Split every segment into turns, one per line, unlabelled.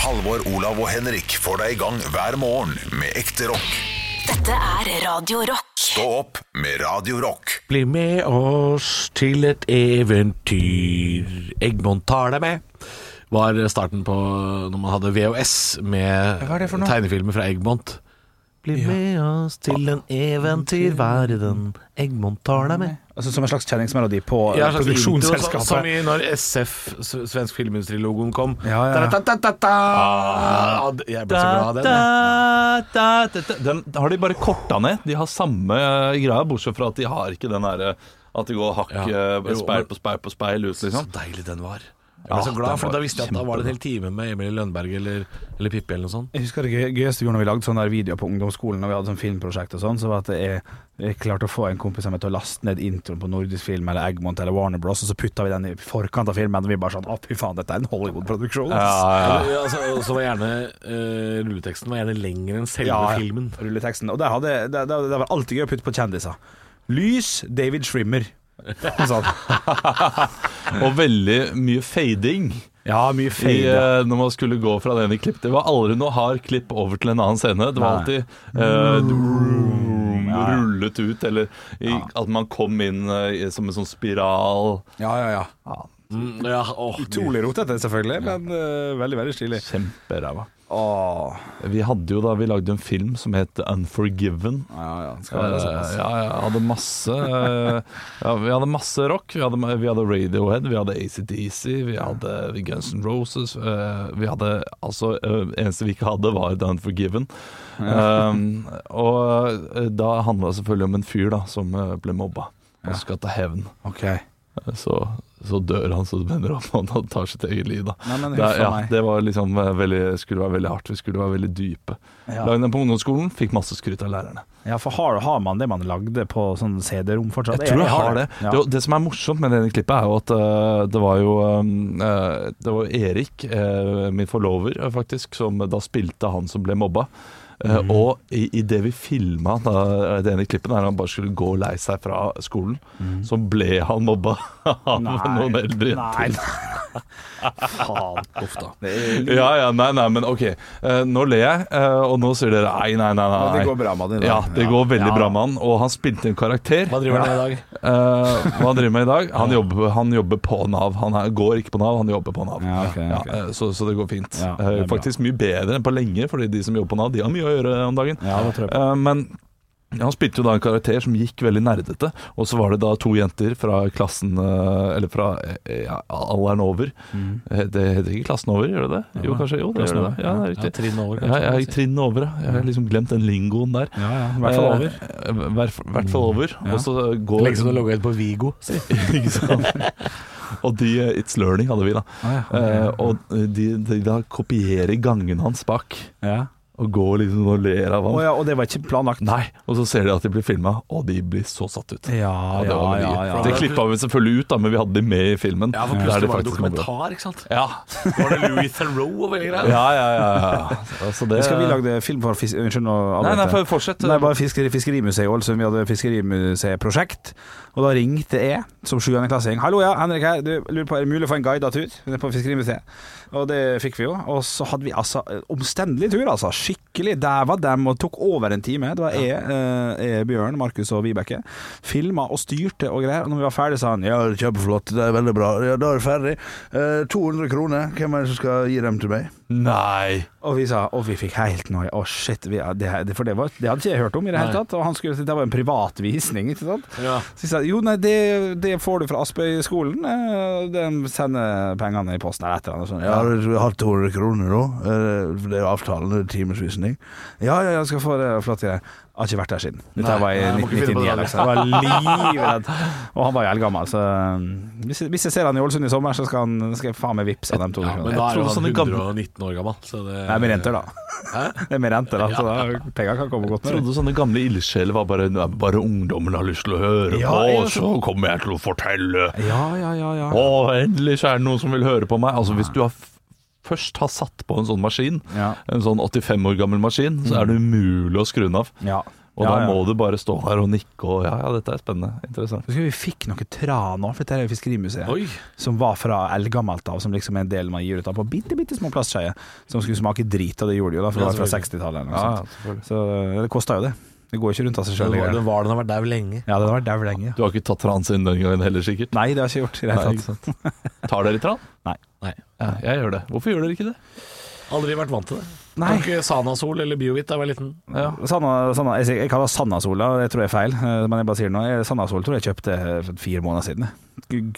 Halvor, Olav og Henrik får deg i gang hver morgen med ekte rock.
Dette er Radio Rock.
Stå opp med Radio Rock.
Bli med oss til et eventyr. Egmont tar deg med. Var starten på når man hadde VHS med
Hva er det for noe?
tegnefilmer fra Egmont. Bli med oss til en eventyrverden. Egmont tar deg med.
Altså, som en slags kjenningsmelodi på
Ja,
eh,
altså,
slags intro, så- Som
produksjonsselskapet.
i når SF, s- Svensk Filmindustri-logoen, kom.
Ja, ja.
Ah, ad- jeg ble så glad av den. jeg.
da, da, da. Den har de bare korta ned. De har samme eh, greia, bortsett fra at de har ikke den derre at det går hakk
Ja.
eh,
Jo,
speil
men-
på speil på speil ut,
Så
liksom.
deilig den var. Jeg
Ja,
ble så glad,
den
for
var
da visste jeg at da var det en
kjempebra.
hel time med Emil i Lønberg eller, eller Pippi eller noe sånt.
Jeg husker det gøy- gøyeste vi gjorde når vi lagde sånne der videoer på ungdomsskolen, Når vi hadde sånn filmprosjekt og sånn, så var det at jeg, jeg klarte å få en kompis av meg til å laste ned introen på Nordisk Film eller Eggmont eller Warner Bros, og så putta vi den i forkant av filmen, og vi bare sånn Å, fy faen, dette er en Hollywood-produksjon. ass».
Ja. Altså, og så var gjerne eh, rulleteksten var gjerne lengre enn selve
Ja, ja.
filmen.
Rulleteksten. Og der hadde, der, der, der var det alltid gøy å putte på kjendiser. Lys David Shrimmer. Og Sånn.
Og veldig mye fading.
Ja, mye
I,
feil. ja.
eh, når man skulle gå fra det ene klipp Det var aldri noe hard klipp over til en annen scene. Det
Nei.
var alltid eh,
Mm.
vroom, rullet ut, eller i, at man kom inn eh, i- som en sånn spiral.
Ja, ja, ja.
Mm, ja, åh,
Utrolig rotete, selvfølgelig, men eh, veldig, veldig stilig.
Kjemperæva.
Åh,
Vi hadde jo da, vi lagde en film som het Unforgiven.
ja, ja. det
Eh,
Skal være såpass.
ja, ja, hadde masse eh, ja, Vi hadde masse rock. Vi hadde, vi hadde Radiohead, vi hadde ACDC, vi hadde Guns N' Roses. eh, vi hadde altså eh, eneste vi ikke hadde, var The Unforgiven. Um, og eh, da handla det selvfølgelig om en fyr da som eh, ble mobba og skal ta hevn.
Ok.
Så, så dør han, så det vender opp, og han tar sitt eget liv. da
Nei, men
det,
huff a
ja,
meg.
det var liksom eh, veldig, skulle være veldig hardt. Vi skulle være veldig dype.
Ja.
Lagde den på ungdomsskolen, fikk masse skryt av lærerne.
Ja, for har, har man det man lagde på sånn CD-rom fortsatt?
Jeg tror jeg har det.
Ja.
Det, det som er morsomt med denne klippet, er jo at eh, det var jo eh, Det var jo Erik, eh, min forlover, eh, faktisk, som da spilte han som ble mobba. Eh,
Mhm.
Og i, i det vi filma det ene klippet, der han bare skulle gå lei seg fra skolen, så ble han mobba av noen eldre
Mhm. Nei,
jenter.
nei. Faen. Uff da. Det,
Ja, ja, nei, nei, men OK. Eh, nå ler jeg, eh, og nå sier dere nei, nei, nei. nei.
det går bra med det. da.
Ja, det går veldig
Ja.
bra med han. Og han spilte en karakter.
Hva driver han med i dag?
Eh, hva han driver med i dag? Han jobber, han jobber på Nav. Han er, går ikke på Nav, han jobber på Nav.
Ja, ok, ok.
eh, så, så det går fint.
Ja, det er
Eh, Faktisk mye bedre enn på lenge, fordi de som jobber på Nav, de har mye å gjøre om dagen.
Ja, det tror jeg på.
Eh, men han spilte jo da en karakter som gikk veldig nerdete, og så var det da to jenter fra klassen eh, Eller fra eh, ja, alderen over.
Mhm.
Eh, Det heter ikke klassen over, gjør det det? Jo, kanskje. Jo, det gjør det. det. Ja, det
Ja,
er riktig.
trinn over,
Ja,
kanskje.
jeg gikk trinn over, ja. Jeg har liksom glemt den lingoen der.
Ja, ja. I hvert fall over.
Eh, hver- hvert fall over. Og så går
Lenge siden du logga ut på Vigo. si.
Ikke sant? Og de eh, It's Learning hadde vi, da.
Ah,
Eh, og de, de da kopierer gangen hans bak.
Ja.
Og går liksom og ler av
Å
han.
ja, og det var ikke planlagt?
Nei, Og så ser de at de blir filma, og de blir så satt ut.
Ja,
Og det
ja,
var veldig
ja.
gøy.
ja.
Det klippa vi selvfølgelig ut, da, men vi hadde de med i filmen.
Ja, for
Der de
plutselig var det
faktisk kom bra.
dokumentar, ikke sant?
Ja.
Var det Louis Theroux og hele
ja,
greia?
ja, ja. ja. Altså det,
Skal vi lage film for fisk... Unnskyld nå.
Nei,
avbrøt
nei,
jeg.
for fortsett.
Nei, bare fiskeri, Fiskerimuseet i Ålesund. Vi hadde fiskerimuseeprosjekt. Og da ringte jeg som 7. klassing. 'Hallo, ja, Henrik her. Du lurer på, Er det mulig å få en guida tur ned på Fiskerimuseet?' Og det fikk vi jo. Og så hadde vi altså eh, omstendelig tur, altså. Skikkelig. Der var dem og tok over en time. Det var jeg, eh, jeg Bjørn, Markus og Vibeke. Filma og styrte og greier. Og når vi var ferdig, sa han 'Ja, det er kjempeflott. Det er veldig bra. Ja, da er det ferdig. Eh, 200 kroner. Hvem er det som skal gi dem til meg?'
Nei.
Og vi sa, og vi fikk helt noe Å shit, vi, det, her- det, for det, var, det hadde ikke jeg hørt om i det hele
Nei.
tatt Og han skulle si, det var en privat visning, ikke sant?
Ja.
Så jeg sa, jo nei, det, det får du fra Aspøy-skolen eh, Den sender pengene i posten eller et eller annet sånt.
Ja, du skulle hatt 200 kroner nå. Eh, for Det er avtalen, det er timesvisning.
Ja, ja, jeg skal få det flott greier Har ikke vært der siden Dette
Nei,
var i
nei, må ikke finne på det.
1999 eller så Jeg var livredd Og han var jo gammel Så eh, hvis, jeg- hvis jeg ser han i Ålesund i sommer Så skal, han, skal jeg faen meg vipse av dem to
Ja, men
kroner
da er jo
tror
han
sånne gamle-
119 år gammel. Så det,
Det er med renter da Det er med renter da Så da, penger kan komme godt
Jeg
med det.
trodde sånne gamle ildsjeler var bare, bare ungdommen har lyst til å høre
Ja,
på,
ja,
og så kommer jeg til å fortelle.
Ja, ja, ja, ja
Å, endelig så er det noen som vil høre på meg. Altså, hvis du har f- først har satt på en sånn maskin,
Ja.
en sånn 85 år gammel maskin, så er det umulig å skru den av.
Ja.
Og
Ja,
da
ja.
må du bare stå her og nikke og ja, ja, dette er spennende. Interessant.
Husker vi fikk noe tran òg, for dette er jo Fiskerimuseet.
Oi.
Som var fra eldgammelt av, som liksom er en del man gir ut av på bitte, bitte små plastskeier. Som skulle smake drit, og det gjorde de jo da, for det
Ja,
var fra
selvfølgelig.
60-tallet eller noe
Ja,
sånt.
ja, selvfølgelig.
Så det kosta jo det. Det går ikke rundt av seg
Den
sjøl.
var,
Ja,
den var den har vært der lenge.
det har vært dau lenge.
Du har ikke tatt trans inn den gangen heller, sikkert?
Nei, det har jeg ikke gjort. i det hele tatt.
sant. Tar dere tran?
Nei.
Nei.
Ja, jeg gjør det. Hvorfor gjør dere ikke det?
Aldri vært vant til det.
Nei.
Tok eh, Sanasol eller Biovit da jeg var liten.
Ja.
Sanna, Sanna, jeg, sier- jeg kaller det Sannasola, det tror jeg er feil. eh, Men jeg bare sier det nå. Jeg- Sannasol tror jeg kjøpte eh, for fire måneder siden. jeg.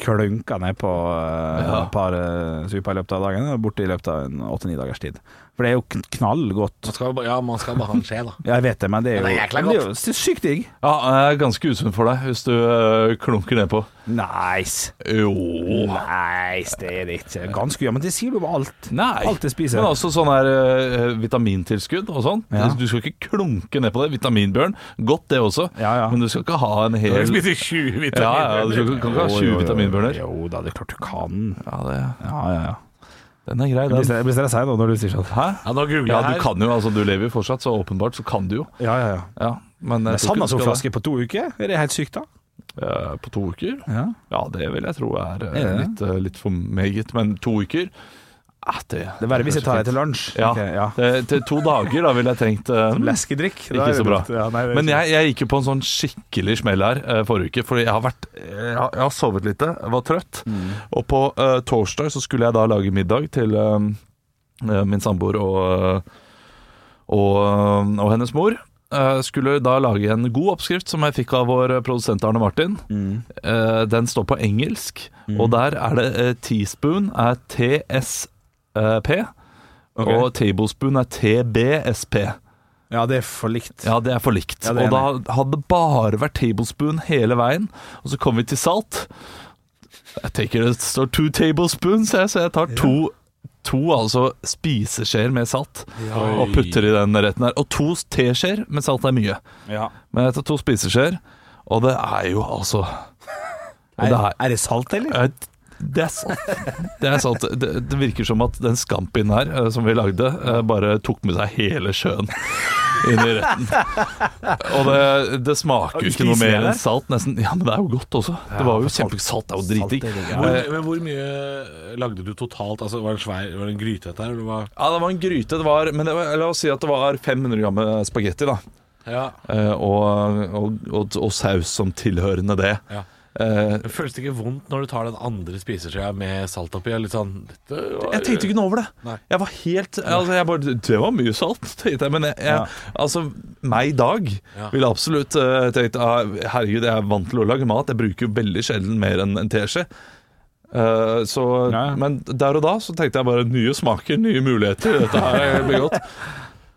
Klunka ned på eh,
Ja.
et par eh, super i løpet av dagene, og borte i løpet av en åtte-ni dagers tid. For det er jo kn- knallgodt.
Man skal, jo bare- ja, man skal bare ha en skje, da.
Jeg vet det, men det er jo,
Men det er jækla
men det er jo sy- sykt digg.
Ja, jeg er ganske usunn for deg hvis du øh, klunker nedpå.
Nice.
Jo
Nice, det er det ikke. Ganske ja, men det sier du om alt.
Nei.
Alt jeg spiser.
Men altså sånn her eh, vitamintilskudd og sånn.
Ja.
Du skal ikke klunke ned på det. Vitaminbjørn, godt det også,
Ja, ja.
men du skal ikke ha en hel ja,
Spiser 20
ja, Du skal ikke, kan ikke ha 20 vitaminbjørner.
Jo da, det er klart du kan.
Ja, det,
Ja, ja, ja.
den er grei,
Jeg blir
den.
stre- jeg blir stressa nå når du sier sånn.
Hæ?
Ja, nå googler
Ja,
jeg her.
du kan jo, altså du lever jo fortsatt, så åpenbart så kan du jo.
Ja, ja, ja.
Ja, men
Men
jeg tror ikke du skal
Sannasol-flaske på to uker, er det helt sykt da?
det. Eh, På to uker?
Ja.
Ja, det vil jeg tro er eh,
Er det det?
litt, eh, litt for meget, men to uker ah, det,
Det er verre hvis jeg tar deg til lunsj.
Ja.
Ok, ja.
til Til to dager, da ville jeg tenkt eh,
Leskedrikk. da
Ikke
er det
så bra.
dumt. Ja, nei, det er
Men
ikke-
jeg, jeg gikk jo på en sånn skikkelig smell her eh, forrige uke, fordi jeg har vært eh, Jeg har, jeg har sovet lite, jeg var trøtt.
Mm.
Og på eh, torsdag så skulle jeg da lage middag til eh, eh, min samboer og, eh, og, eh, og hennes mor. Eh, skulle da lage en god oppskrift som jeg fikk av vår produsent Arne Martin.
Mm.
Eh, den står på engelsk, og der er det eh, teaspoon er TSP, og tablespoon er TBSP.
Ja, det er for likt.
Ja, det er for likt.
Ja, det er
og da hadde det bare vært tablespoon hele veien, og så kom vi til salt. Jeg tenker det står two tablespoons, jeg, så jeg tar to, to altså spiseskjeer med salt og putter i den retten her. Og to teskjeer, men salt er mye.
Ja.
Men jeg tar to spiseskjeer, og det er jo altså og det er,
Er det salt, eller?
Eh, Det er sant. Det, er sant. Det, det virker som at den scampien her eh, som vi lagde, eh, bare tok med seg hele sjøen inn i retten. Og det, det smaker jo ikke noe
Spiser jeg
mer
det?
enn salt, nesten. Ja, men det er jo godt også. Det var jo kjempesalt. Det er jo
Salt
dritdigg.
er digg, ja.
Hvor,
Eh,
men hvor mye lagde du totalt? Altså, var det en svær var det en gryte dette her? Eller var,
Ja, det var en gryte. Det var, men det var, la oss si at det var 500 gram med spagetti, da.
ja.
Eh, Og, og, og, og saus som tilhørende det.
Ja.
Eh,
Det Føles det ikke vondt når du tar den andre spiseskjea med salt oppi? og Litt sånn dette var-
Jeg tenkte ikke noe over det.
Nei.
Jeg var helt altså, jeg bare, Det var mye salt, tenkte jeg. Men jeg, jeg,
Ja.
altså, meg i dag
Ja.
ville absolutt eh, tenkt ah, Herregud, jeg er vant til å lage mat. Jeg bruker jo veldig sjelden mer enn en teskje. Eh, så,
Ja.
Men der og da så tenkte jeg bare nye smaker, nye muligheter. Dette her blir godt.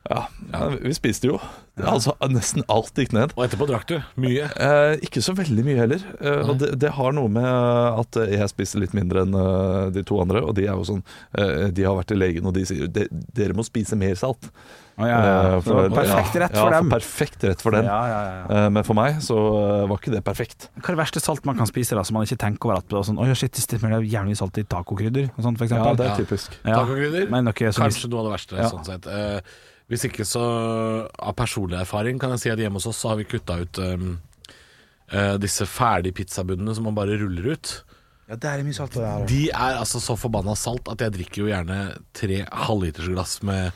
Ja, ja, vi spiste jo. Altså, nesten alt gikk ned.
Og etterpå drakk du mye.
Eh, ikke så veldig mye heller. Eh, og det, det har noe med eh, at jeg spiser litt mindre enn eh, de to andre. Og de er jo sånn eh, De har vært til legen, og de sier "De- dere må spise mer salt.
Å, ja, ja.
Eh,
Så det var perfekt
ja,
rett for
ja,
dem.
Perfekt rett for
Ja,
dem.
ja, ja.
Eh, men for meg så eh, var ikke det perfekt.
Hva er det verste salt man kan spise da, som man ikke tenker over at det er sånn, Oi, shit, det stemmer, det er jævlig mye salt i tacokrydder og sånt, for eksempel.
det er typisk.
Ja.
Tacokrydder?
Men noe som
Kanskje noe av det verste.
Ja.
Sånn sett. Eh, hvis ikke så av personlig erfaring kan jeg si at hjemme hos oss så har vi kutta ut um, eh, disse ferdige pizzabunnene som man bare ruller ut.
Ja, det er mye salt på det her.
De er altså så forbanna salt at jeg drikker jo gjerne tre halvlitersglass med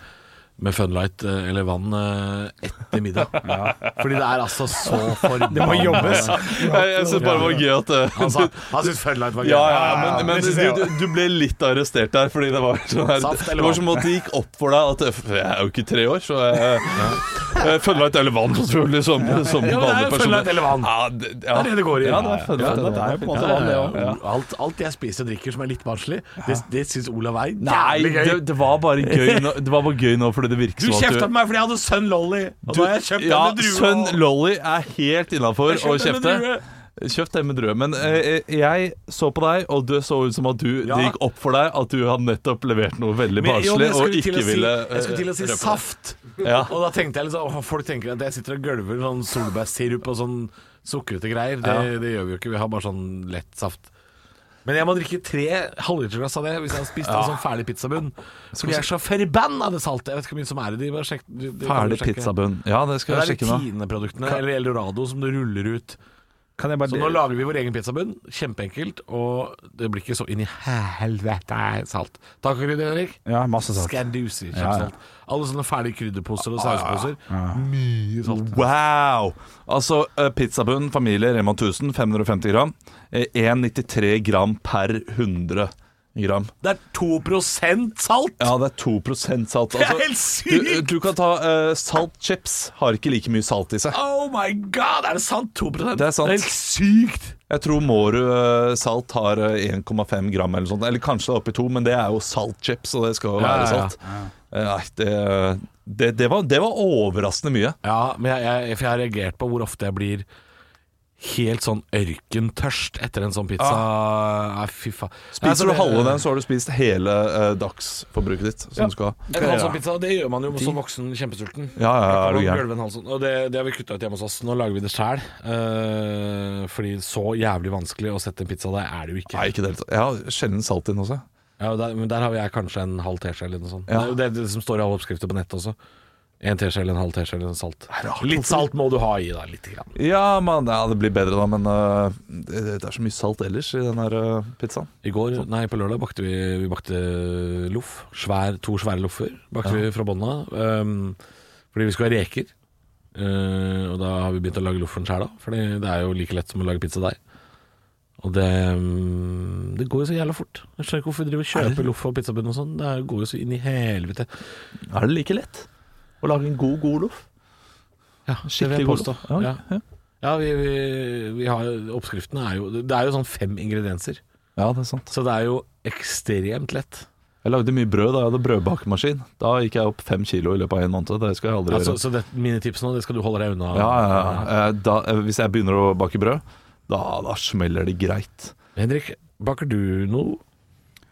med Funlight eh, eller vann eh, etter middag. Fordi det er altså så forbanna
Det må jobbes.
Jeg, jeg syns bare det var gøy at eh,
Han, sa- han syntes Funlight var gøy.
Ja, ja, ja, men, men
det
du,
synes jeg
du, du ble litt arrestert der, fordi det var sånn her,
Saft eller
Det var
vann?
som at det gikk opp for deg at eh, Jeg er jo ikke tre år, så jeg, jeg føler meg et elefant, selvfølgelig, som, som
Ja, men det er jo
vanlig person.
føler deg et elefant.
Ja, det, ja.
Det er det det går i.
Ja, det er føler
Ja,
deg et
det er jo på en måte
elefant.
vanlig, ja.
Ja.
Alt, alt jeg spiser og drikker som er litt barnslig, det, det syns Olav er
Nei,
jævlig gøy.
det, det var bare gøy nå, det var bare gøy nå fordi det virker
Du
som at
kjefta på meg fordi jeg hadde Sønn Lolly. Og da har jeg kjøpt
ja,
denne drua.
Sønn Lolly er helt innafor
Jeg
å
kjøpte
kjefte.
denne drua.
Kjøpt det med drue. Men eh, jeg så på deg, og det så ut som at du,
Ja.
det gikk opp for deg at du hadde nettopp levert noe veldig
Men- jo, men
barnslig
jeg
og
skulle til
ikke
å si-
ville
Jeg skulle til å si
eh, røpe det.
saft.
Ja.
Og da tenkte jeg liksom åh, Folk tenker at jeg sitter og gølver sånn solbærsirup og sånn sukkerete greier. Det,
Ja.
det gjør vi jo ikke. Vi har bare sånn lett saft. Men jeg må drikke tre halvliterglass av det hvis jeg har spist en sånn ferdig pizzabunn. Fordi jeg er så forbanna det saltet. Jeg vet ikke hvor mye som er i de. Bare sjekk, de, de
Ferdig pizzabunn. Ja, det
Det
skal
er
jeg
de
sjekke nå.
Tine-produktene, eller Eldorado, som du ruller ut.
Kan jeg bare
Så nå lager vi vår egen pizzabunn. Kjempeenkelt. Og det blir ikke så inn i helvete salt. Takk, Krydder Henrik.
Ja, masse salt.
Scandusi. Kjempesalt. Alle sånne ferdige krydderposer
Ah,
og sauseposer. Mye salt.
Wow! Altså, eh, pizzabunn, familie, Rema 1000, 550 gram. Eh, 1,93 gram per 100 gram.
Det er 2 salt!
Ja, det er 2 salt.
Det er
Altså,
helt sykt!
Du, du kan ta eh, saltchips. Har ikke like mye salt i seg.
Oh my god, er det sant? 2
Det er sant.
helt sykt!
Jeg tror Mårud eh, salt har eh, 1,5 gram eller sånt. Eller kanskje det er oppi to, men det er jo saltchips, og det skal jo
Ja,
være
ja, ja.
salt. Eh, Nei, det, det, det, var, det var overraskende mye.
Ja, men jeg, jeg, for jeg har reagert på hvor ofte jeg blir helt sånn ørkentørst etter en sånn pizza. Nei, fy faen. Nei, så
Ah. Spiser du
det-
halve den, så har du spist hele eh, dagsforbruket ditt. Som du skal ha.
En Hansson-pizza, det gjør man jo som voksen kjempesulten.
Ja, ja, ja, er du
Og
gæren.
gulve en Hansson. Og det, det har vi kutta ut hjemme hos oss. Nå lager vi det sjæl. Uh, fordi så jævlig vanskelig å sette en pizza der er det jo ikke.
Nei, ikke det hele tatt. Jeg har sjelden salt i den også.
Ja, og der, men der har jeg kanskje en halv teskje eller noe sånt.
Ja.
Det er jo det som står i alle oppskrifter på nettet også. En teskje eller en halv teskje eller en salt. Litt salt må du ha i da, lite grann.
Ja, man, ja, det blir bedre da, men eh, det, det er så mye salt ellers i den her eh, pizzaen.
I går, nei, på lørdag bakte vi, vi bakte loff. Svær, to svære loffer bakte vi fra bånn av. ehm, fordi vi skulle ha reker. Eh, og da har vi begynt å lage loffen sjæl, da. Fordi det er jo like lett som å lage pizzadeig. Og det, mm, det går jo så jævla fort. Jeg skjønner ikke hvorfor vi driver og kjøper loff og pizzabunn og sånn. Det er- går jo så inn i helvete.
Er det like lett å lage en god, god loff?
Ja,
Skikkelig god loff. Ja,
Ja,
ja.
ja vi, vi, vi har Oppskriftene er jo Det er jo sånn fem ingredienser.
ja, det er sant.
Så det er jo ekstremt lett.
Jeg lagde mye brød da jeg hadde brødbakemaskin. Da gikk jeg opp fem kilo i løpet av en måned. Det skal jeg aldri
Altså,
gjøre.
så det, mine tips nå, det skal du holde deg unna.
Ja, ja, ja. Eh, Da, eh, hvis jeg begynner å bake brød, da, da smeller det greit.
Henrik, baker du noe?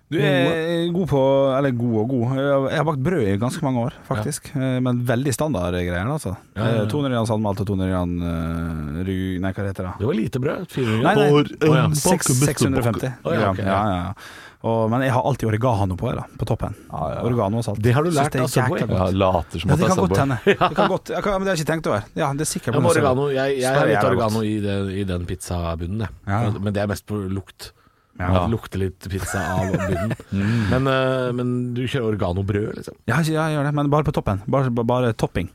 Du er god på Eller god og god. Jeg har bakt brød i ganske mange år, faktisk. Eh, Men veldig standard greier, altså.
Ja, ja, ja.
Eh, 200 gram sandmalt og 200 gram eh, ru... Nei, hva heter det? da?
Det var lite brød. 400
Nei,
gram.
nei,
Får
Å,
en
ja.
bakke-
seks- 650
Å, ja,
gram.
ok, ja.
Ja, ja, ja. Og, men jeg har alltid oregano på, her, da, på toppen.
Ja, ja.
Oregano og salt.
Det har du
Synes
lært
er
av Subway.
jækla godt.
Ja, later som
Ja, det
at jeg
kan
er
godt
samboer.
hende. Det kan godt- jeg kan- Men det har jeg ikke tenkt over. Ja, det er
Ja,
sikkert
men
noe som-
oregano. Jeg, jeg
Smaker
har litt
jævla
oregano
godt.
i, det, i den pizzabunnen, jeg.
Ja, ja.
Men det er mest på lukt.
Ja. Mm.
At det Lukter litt pizza av bunnen. men, eh, men du kjører oreganobrød, liksom?
Ja, ja, jeg gjør det, men bare på toppen. Bare, bare, bare topping.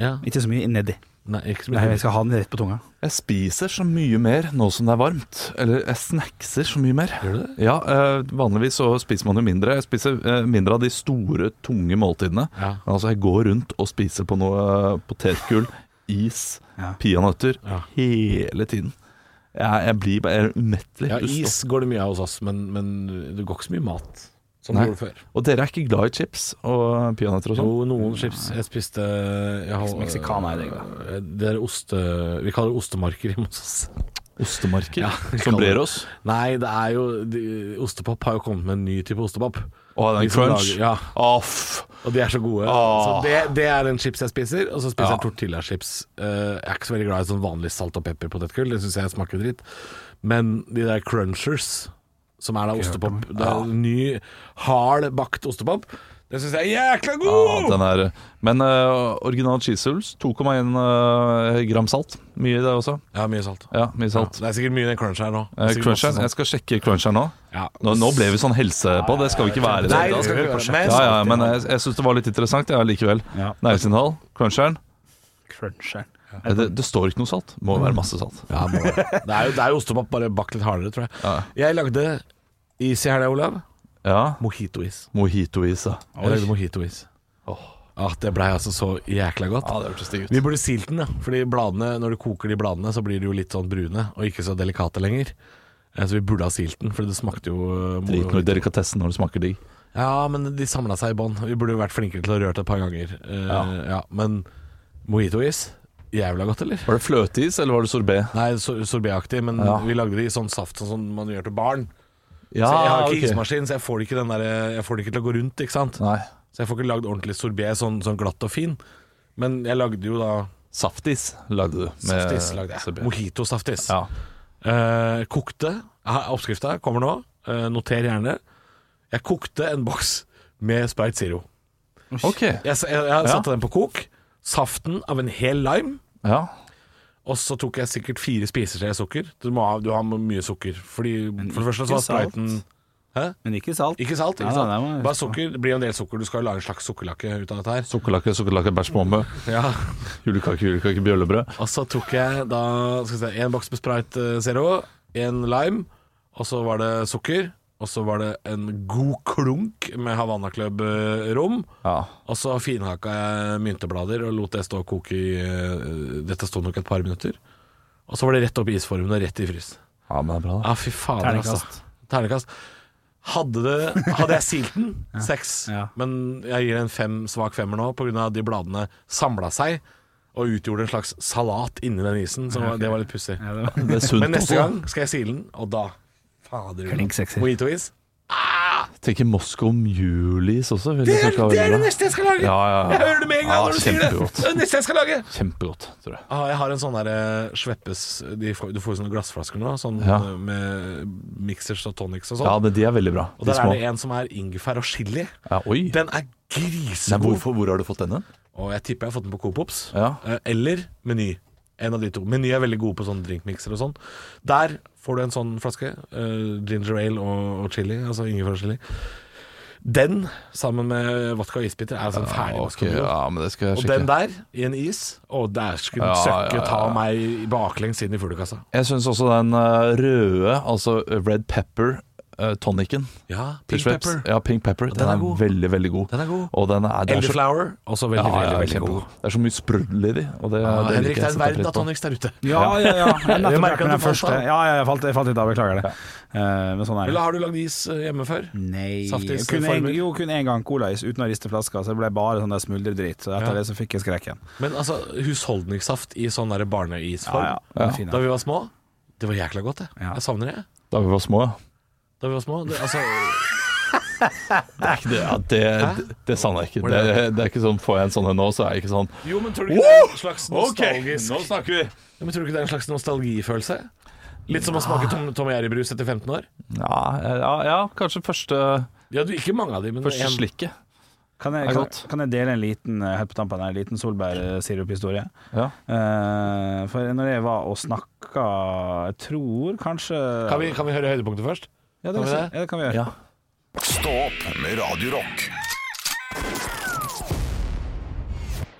Ja.
Ikke så mye nedi.
Nei, ikke så
Nei,
mye.
jeg skal ha den rett på tunga.
Jeg spiser så mye mer nå som det er varmt. Eller jeg snackser så mye mer.
Gjør du det?
Ja, eh, Vanligvis så spiser man jo mindre. Jeg spiser eh, mindre av de store, tunge måltidene.
Ja.
Men altså, jeg går rundt og spiser på noe eh, potetgull, is,
Ja.
peanøtter
Ja.
hele tiden. Jeg, jeg blir bare umettelig.
Ja,
Du
is går det mye av hos oss, men, men det går ikke så mye mat som
Nei.
det gjorde før.
stopper. Og dere er ikke glad i chips og peanøtter og
Jo,
sånn?
noen chips jeg spiste jeg har, Eh,
Meksikaner er det,
Det er oste... Vi kaller det ostemarker hjemme hos oss.
Ostemarker?
Ja, vi kaller det.
Sombreros?
Nei, det er jo de, Ostepop har jo kommet med en ny type ostepop.
Å, den
De som
crunch.
lager- ja.
Off.
Og de er så gode.
Åh.
Så det, det er en chips jeg spiser. Og så spiser
Ja.
jeg tortillachips. Eh, jeg er ikke så veldig glad i sånn vanlig salt og pepper potetgull, det syns jeg smaker dritt. Men de der crunchers, som er da ostepop Det er en ny, hard bakt ostepop. Det syns jeg er jækla
Ja,
god!
den er Men eh, original cheese hulls, 2,1 eh, gram salt. Mye i det også.
Ja, mye salt.
Ja, mye salt.
Ja, det er sikkert mye i den crunch her nå. Sikkert
Eh,
masse
cruncheren,
sånn-
Jeg skal sjekke cruncheren nå.
Ja.
Nå, nå ble vi sånn helse på, det skal vi ikke være. i
Nei,
hele
det skal
tatt.
vi ikke gjøre.
ja, ja, men eh, jeg, jeg syns det var litt interessant ja, likevel.
Ja.
Næringsinnhold, cruncheren.
Cruncheren.
Eh, Det, det står ikke noe salt. Må være masse salt.
Ja, må det. det er jo, det er jo ostepop, bare bakt litt hardere, tror jeg.
Ja.
Jeg lagde is i helga, Olav.
Ja.
Mojitois.
Mojitois, ja.
Jeg lagde mojitois. Ah, det blei altså så jækla godt.
det hørtes digg
Vi burde silt den, da. Fordi bladene, når du koker de bladene, så blir de jo litt sånn brune, og ikke så delikate lenger. Eh, Så vi burde ha silt den, for det smakte jo eh, moro.
Drit noe i delikatessen når det smaker digg.
Ja, men de samla seg i bånn. Vi burde jo vært flinkere til å røre det et par ganger. Eh, ja, men mojitois Jævla godt, eller?
Var det fløteis, eller var det sorbet?
Nei, sor- sorbetaktig, men
Ja.
vi lagde det i sånn saft sånn som man gjør til barn. så jeg har ikke ismaskin, så jeg får, det ikke den der, jeg får det ikke til å gå rundt. ikke sant?
Nei.
Så jeg får ikke lagd ordentlig sorbet sånn, sånn glatt og fin. Men jeg lagde jo da
Saftis lagde du. med
saftis. lagde jeg.
sorbet.
Mojito-saftis.
Ja.
Eh, kokte, Oppskrifta kommer nå. Eh, Noter gjerne. Jeg kokte en boks med Sprite Zero.
Ok,
Jeg, s- jeg, jeg satte den på kok. Saften av en hel lime.
ja
Og så tok jeg sikkert fire spiseskjeer sukker. Du må ha, du har mye sukker. Fordi, for det første så
ikke
var spriten
salt. Men ikke salt.
Ikke salt.
Nei,
ikke sant?
nei, det må
Bare
jeg huske på.
sukker. Det blir jo en del sukker. Du skal jo lage en slags sukkerlakke ut av dette her.
Sukkerlake, sukkerlake, bæsj på ombe
Ja.
Julekake, julekake, bjøllebrød
Og så tok jeg da skal vi se, en boks med Sprite eh, Zero, en lime, og så var det sukker. Og så var det en god klunk med Havanna Club eh, rom.
Ja
Og så finhakka jeg mynteblader og lot det stå og koke i eh, Dette stod nok et par minutter. Og så var det rett opp i isformen og rett i frys.
Ja, men det er bra da
Ja, fy fader,
Terningkast.
altså. Ternekast. Hadde, det, hadde jeg silt den, seks.
Ja.
Men jeg gir en fem, svak femmer nå pga. de bladene samla seg og utgjorde en slags salat inni den isen. Så det var litt pussig.
Ja, det var
Det er sunt
Men neste
også.
gang skal jeg sile den, og da Fader.
Klink sekser.
Mojito-is.
Tenker Moskva om julis også vil jeg snakke om veldig bra.
neste jeg skal lage!
Ja, ja, ja.
Jeg hører det med en gang
Ja,
når du sier det!
kjempegodt.
Det er det neste jeg skal lage!
Kjempegodt, tror jeg
Ah, jeg har en sånn der eh, Sveppes de får, Du får jo sånne glassflasker nå, sånn
Ja.
eh, med mixers og tonics og sånn.
Ja, men de er veldig bra
og
De
der
små
er det en som er ingefær og chili.
ja, Oi Nei,
Den er grisegod.
hvorfor, hvor har du fått denne?
Og jeg tipper jeg har fått den på Coopops.
Ja.
Eh, Eller Meny. En av de to. Meny er veldig gode på sånne drinkmikser og sånn. Der får du en sånn flaske. eh, ginger ale og, og chili, altså ingefærchili. Den, sammen med vodka og isbiter, er altså en ferdig
Ok, ja, men det skal jeg
Og
sjekke
den der, i en is Å, der skulle den
Ja, ja,
søkke
ja.
ta meg i baklengs inn i fuglekassa.
Jeg synes også den eh, røde, altså red pepper uh, tonicen
Ja,
til
pink
Schweppes.
pepper.
Ja, pink pepper. Den,
den er
er,
god.
veldig, veldig god.
Den er god.
Og den er, det er så-
Elderflower, også veldig,
Ja, ja,
veldig, veldig
kjempegod.
god.
Det er så mye sprudel i de. Og det,
Ja,
det liker
Henrik, det er
jeg setter
en verden
pris
av
på.
tonics der ute.
Ja, ja, ja.
Jeg
Jeg
merker
merka
at
den
du falt
første.
av.
Ja, ja, jeg falt, jeg falt litt av. Beklager det. Eh, men sånn er
Eller
det.
har du lagd is eh, hjemme før?
Nei
Saftis
kun en,
former.
Jo, kun én gang colais uten å riste flaska, så det ble bare sånn der smuldredrit. Så etter
Ja.
det så fikk jeg skrekken.
Men altså, husholdningssaft i sånn der barneisform
Ja, ja. Den er fin,
Da
ja.
vi var små, det var jækla godt, det.
Ja.
Jeg savner det. jeg.
Da vi var små, ja.
Da vi var små det, altså,
Det, er ikke det, ja, det, det, det savner jeg ikke. Det, det er ikke sånn, Får jeg en sånn en nå, så er jeg ikke sånn
Jo, men tror du ikke det er en slags
OK,
nostalgisk
nå snakker vi!
ja, Men tror du ikke det er en slags nostalgifølelse? Litt som å smake Tom, Tom og Jerry-brus etter 15 år.
Ja, ja, ja kanskje første,
Ja, du, ikke mange av de, men
første
en-
slikket.
Kan
Det
jeg,
er
kan,
godt.
kan jeg dele en liten eh, helt på tampen her, en liten solbærsiruphistorie?
Ja.
Uh, for når jeg var og snakka Jeg tror kanskje
kan, vi, kan vi høre høydepunktet først?
Ja, det,
kan vi
ja,
det?
det kan vi gjøre.
Ja.
Stå opp med Radio Rock.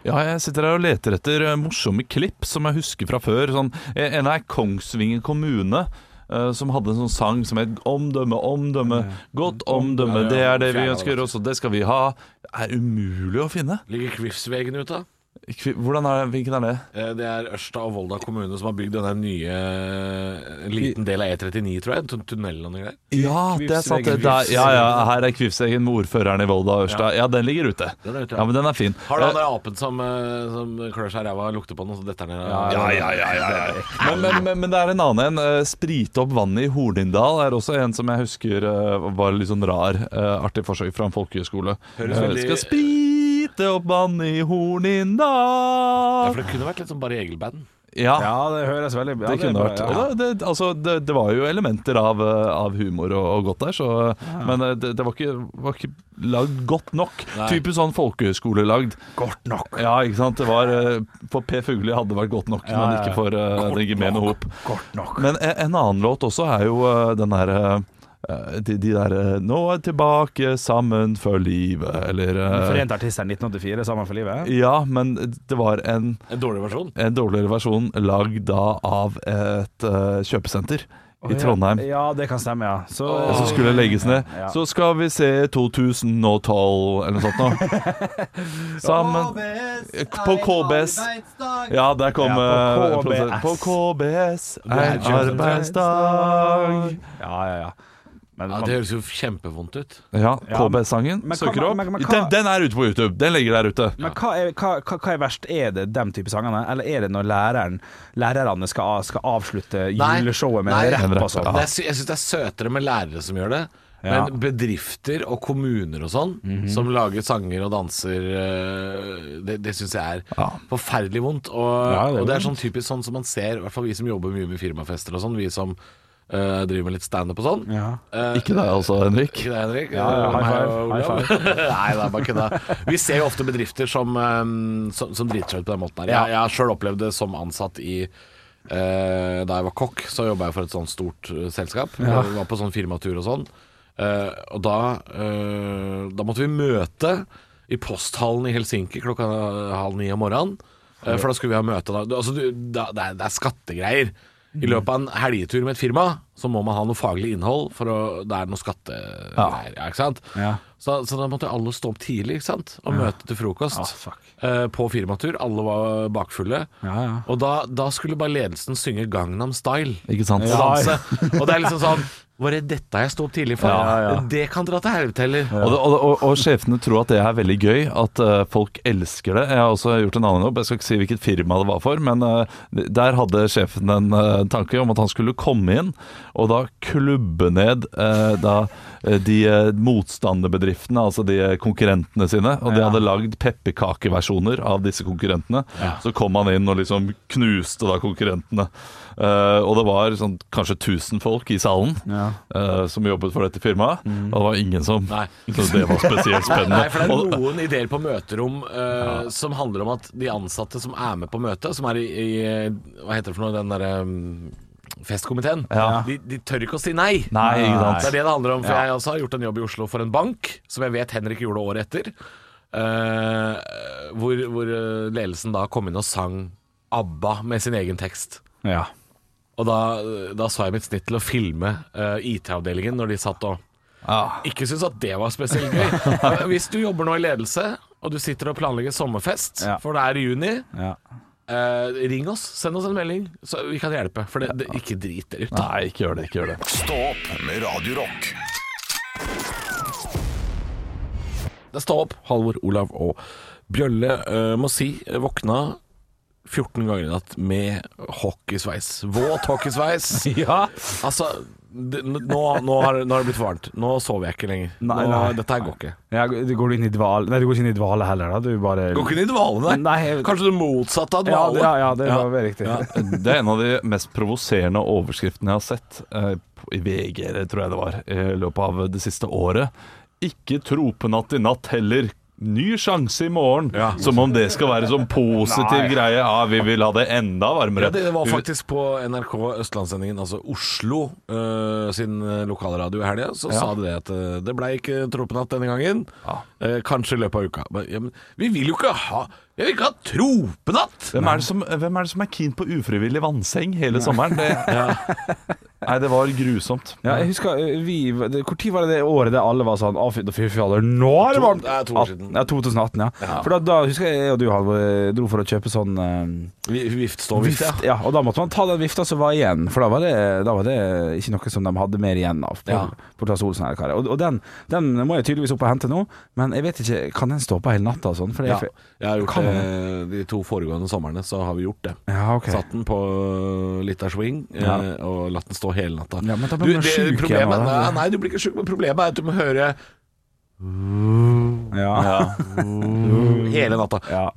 Ja, jeg sitter her og leter etter eh, morsomme klipp som jeg husker fra før. Sånn, eh, en er Kongsvinger kommune. eh, som hadde en sånn sang som het 'Omdømme, omdømme, godt omdømme'. Det er det vi ønsker oss, og det skal vi ha. Det er umulig å finne.
Ligger Kvifsvegen ute? da?
Kvi- Hvordan er det? Hvilken er det?
Eh, Det er Ørsta og Volda kommune som har bygd denne nye eh, En liten del av E39, tror jeg. En tun- tunnel og noe greier.
Ja, det er sant. Det,
Kvivsvegen.
der, ja, ja, her er Kvivseggen med ordføreren i Volda og Ørsta. Ja, den ligger ute.
Den er ute, ja.
Ja, men den er fin.
Har du han
Eh,
der apen som, eh, som klør seg i ræva og lukter på den, og så detter han ned?
Ja, ja, ja, ja, ja. Men, men, men, men det er en annen en. eh, Sprite opp vannet i Hornindal er også en som jeg husker eh, var litt sånn rar. eh, Artig forsøk fra en folkehøyskole.
Høres
Eh,
veldig-
Skal sprite opp vannet i Hornindal
For det kunne vært litt som Bare Egil-band.
Ja,
Ja, det høres veldig bra
det kunne
er
vært.
bra,
Og det, det, altså, det, det var jo elementer av, eh, av humor og, og godt der, så Men eh, det, det var, ikke, var ikke lagd godt nok.
Nei.
Typisk sånn folkehøyskolelagd.
Godt nok.
Ja, ikke sant. Det var, eh, for Per Fugli hadde det vært godt nok,
Ja,
men
ja.
ikke for eh, den gemene hop.
Godt nok.
Men en en annen låt også er jo øh, den derre de, de der øh, 'Nå er tilbake sammen for livet', eller øh,
Forent artister 1984, Sammen for livet.
Ja, men det var en,
En dårlig versjon.
en dårligere versjon lagd da av et øh, kjøpesenter i Trondheim.
Ja, det kan stemme, ja. Så,
Og så skulle det legges ned.
Ja.
Så skal vi se 2012, eller noe sånt nå. Sammen På KBS. Ja, der kom
Ja, på
øh,
KBS.
På KBS
er
en arbeidsdag.
Ja, ja, ja. Men
Ja,
man-
Det høres jo kjempevondt ut.
Ja,
Ja,
KB-sangen.
men- men
Søker
hva-
opp.
men- men hva-
den, den er ute på YouTube. Den ligger der ute.
Men hva er, hva, hva hva er verst? Er det dem type sangene, eller er det når læreren, lærerne skal, skal avslutte juleshowet med
nei,
en rapp?
rapp,
og sånn?
ja.
Det er, sy- jeg syns det er søtere med lærere som gjør det.
Ja.
Men bedrifter og kommuner og sånn, som lager sanger og danser øh, Det, det syns jeg er forferdelig vondt. Og,
Ja, det er
og det er
vondt.
sånn typisk sånn som man ser, i hvert fall vi som jobber mye med firmafester og sånn, vi som eh, driver med litt standup og sånn.
Ja.
Eh,
Ikke deg altså, Henrik.
Ikke det, Henrik?
ja, high
Meg og
five, high
Olav. Nei, det er bare kødda. Vi ser jo ofte bedrifter som, eh, som, som driter seg ut på den måten her. Jeg, jeg har sjøl opplevd det som ansatt i eh, Da jeg var kokk, så jobba jeg for et sånt stort eh, selskap. Jeg var på sånn firmatur og sånn. Eh, og da, eh, da måtte vi møte i posthallen i Helsinki klokka halv ni om morgenen. eh, for da skulle vi ha møte da. Du- Altså, du, da det, er, det er skattegreier. I løpet av en helgetur med et firma så må man ha noe faglig innhold, for å, det er noe skattegreier. Ja, ikke sant?
Ja.
Så, så da måtte alle stå opp tidlig ikke sant? og møte til frokost
Ah, fuck.
eh, på firmatur. Alle var bakfulle.
Ja, ja.
Og da, da skulle bare ledelsen synge Gangnam Style
Ikke sant?
og danse. Og det er liksom sånn Var det dette jeg sto opp tidlig for?
Ja, ja.
Det kan dra til helvete heller.
Og, det- og, det- og, og sjefene tror at det er veldig gøy, at eh, folk elsker det. Jeg har også gjort en annen jobb, jeg skal ikke si hvilket firma det var for, men eh, der hadde sjefen en eh, tanke om at han skulle komme inn og da klubbe ned eh, da, eh, de eh, motstanderbedriftene, altså de eh, konkurrentene sine. Og de hadde lagd pepperkakeversjoner av disse konkurrentene. Så kom han inn og liksom knuste da konkurrentene. Eh, og det var sånn, kanskje 1000 folk i salen eh, som jobbet for dette firmaet, og det var ingen som
Nei.
så det var spesielt spennende.
Nei, for det
Og-
er noen ideer på møterom eh, som handler om at de ansatte som er med på møtet, som er i, i eh, Hva heter det for noe? Den derre mm, festkomiteen.
Ja.
De, de tør ikke å si nei.
Nei, ikke sant.
Det er det det handler om. For jeg også har gjort en jobb i Oslo for en bank, som jeg vet Henrik gjorde året etter. eh, hvor, hvor eh, ledelsen da kom inn og sang ABBA med sin egen tekst.
Ja.
Og da, da sa jeg mitt snitt til å filme eh, IT-avdelingen når de satt og ikke syntes at det var spesielt gøy. Eh, Hvis du jobber nå i ledelse, og du sitter og planlegger sommerfest,
Ja.
for det er i juni,
ja.
eh, ring oss, send oss en melding, så vi kan hjelpe. For det, det, ikke drit dere ut.
Nei, ikke gjør det. ikke gjør det
Stå opp med Radio Rock.
Det står opp. Halvor, Olav og Bjølle eh, må si eh, våkna 14 ganger i natt med hockeysveis. Våt hockeysveis.
ja.
Altså, det, nå, nå, har, nå har det blitt varmt. Nå sover jeg ikke lenger.
Nei,
nå,
nei.
dette her går ikke.
du går du inn i dvale Nei, du går ikke inn i dvale heller, da. Du bare
Går ikke inn i dvale, nei.
Nei, jeg-
Kanskje det motsatte av
ja,
dvale.
ja, ja, det var veldig riktig.
Det er en av de mest provoserende overskriftene jeg har sett eh, på- i VG, det tror jeg det var, i løpet av det siste året. Ikke tropenatt i natt heller. Ny sjanse i morgen.
Ja.
Som om det skal være sånn
Nei.
positiv greie. Ja, vi vil ha det enda varmere.
Ja, det var faktisk på NRK Østlandssendingen, altså Oslo øh, sin lokalradio i helga, så sa de det at øh, det blei ikke tropenatt denne gangen. Eh, kanskje i løpet av uka. Men, ja, men vi vil jo ikke ha Jeg vil ikke ha tropenatt!
Hvem er, det som, hvem er det som er keen på ufrivillig vannseng hele sommeren? Det, Nei, det var grusomt.
Ja, jeg husker eh, vi det, Hvor tid var det det året der alle var sånn Å, fy fy fader, nå er det
To-
varmt!
det er to år siden.
Ja, 2018, ja. For da, da husker jeg jeg og du, Halvor, eh, dro for å kjøpe sånn eh,
Vi- Viftstålvift,
vift. Ja, og da måtte man ta den vifta som var igjen, for da var det, da var det ikke noe som de hadde mer igjen av. På,
Ja.
på Klaas Olsen her, karer. Og, og den, den må jeg tydeligvis opp og hente nå, men jeg vet ikke Kan den stå på hele natta og sånn? For det
Ja,
er-
jeg har gjort
Kan
det
man?
de to foregående somrene, så har vi gjort det.
Ja, ok.
Satt den på litt av swing eh,
Ja.
og latt den stå hele natta.
Ja, men da
Du,
blir man
det-
sjuk igjen
problemet,
av
nei,
det.
nei, du blir ikke sjuk, men problemet er at du må høre
Ja. Ja. Mm.
hele natta.
Ja.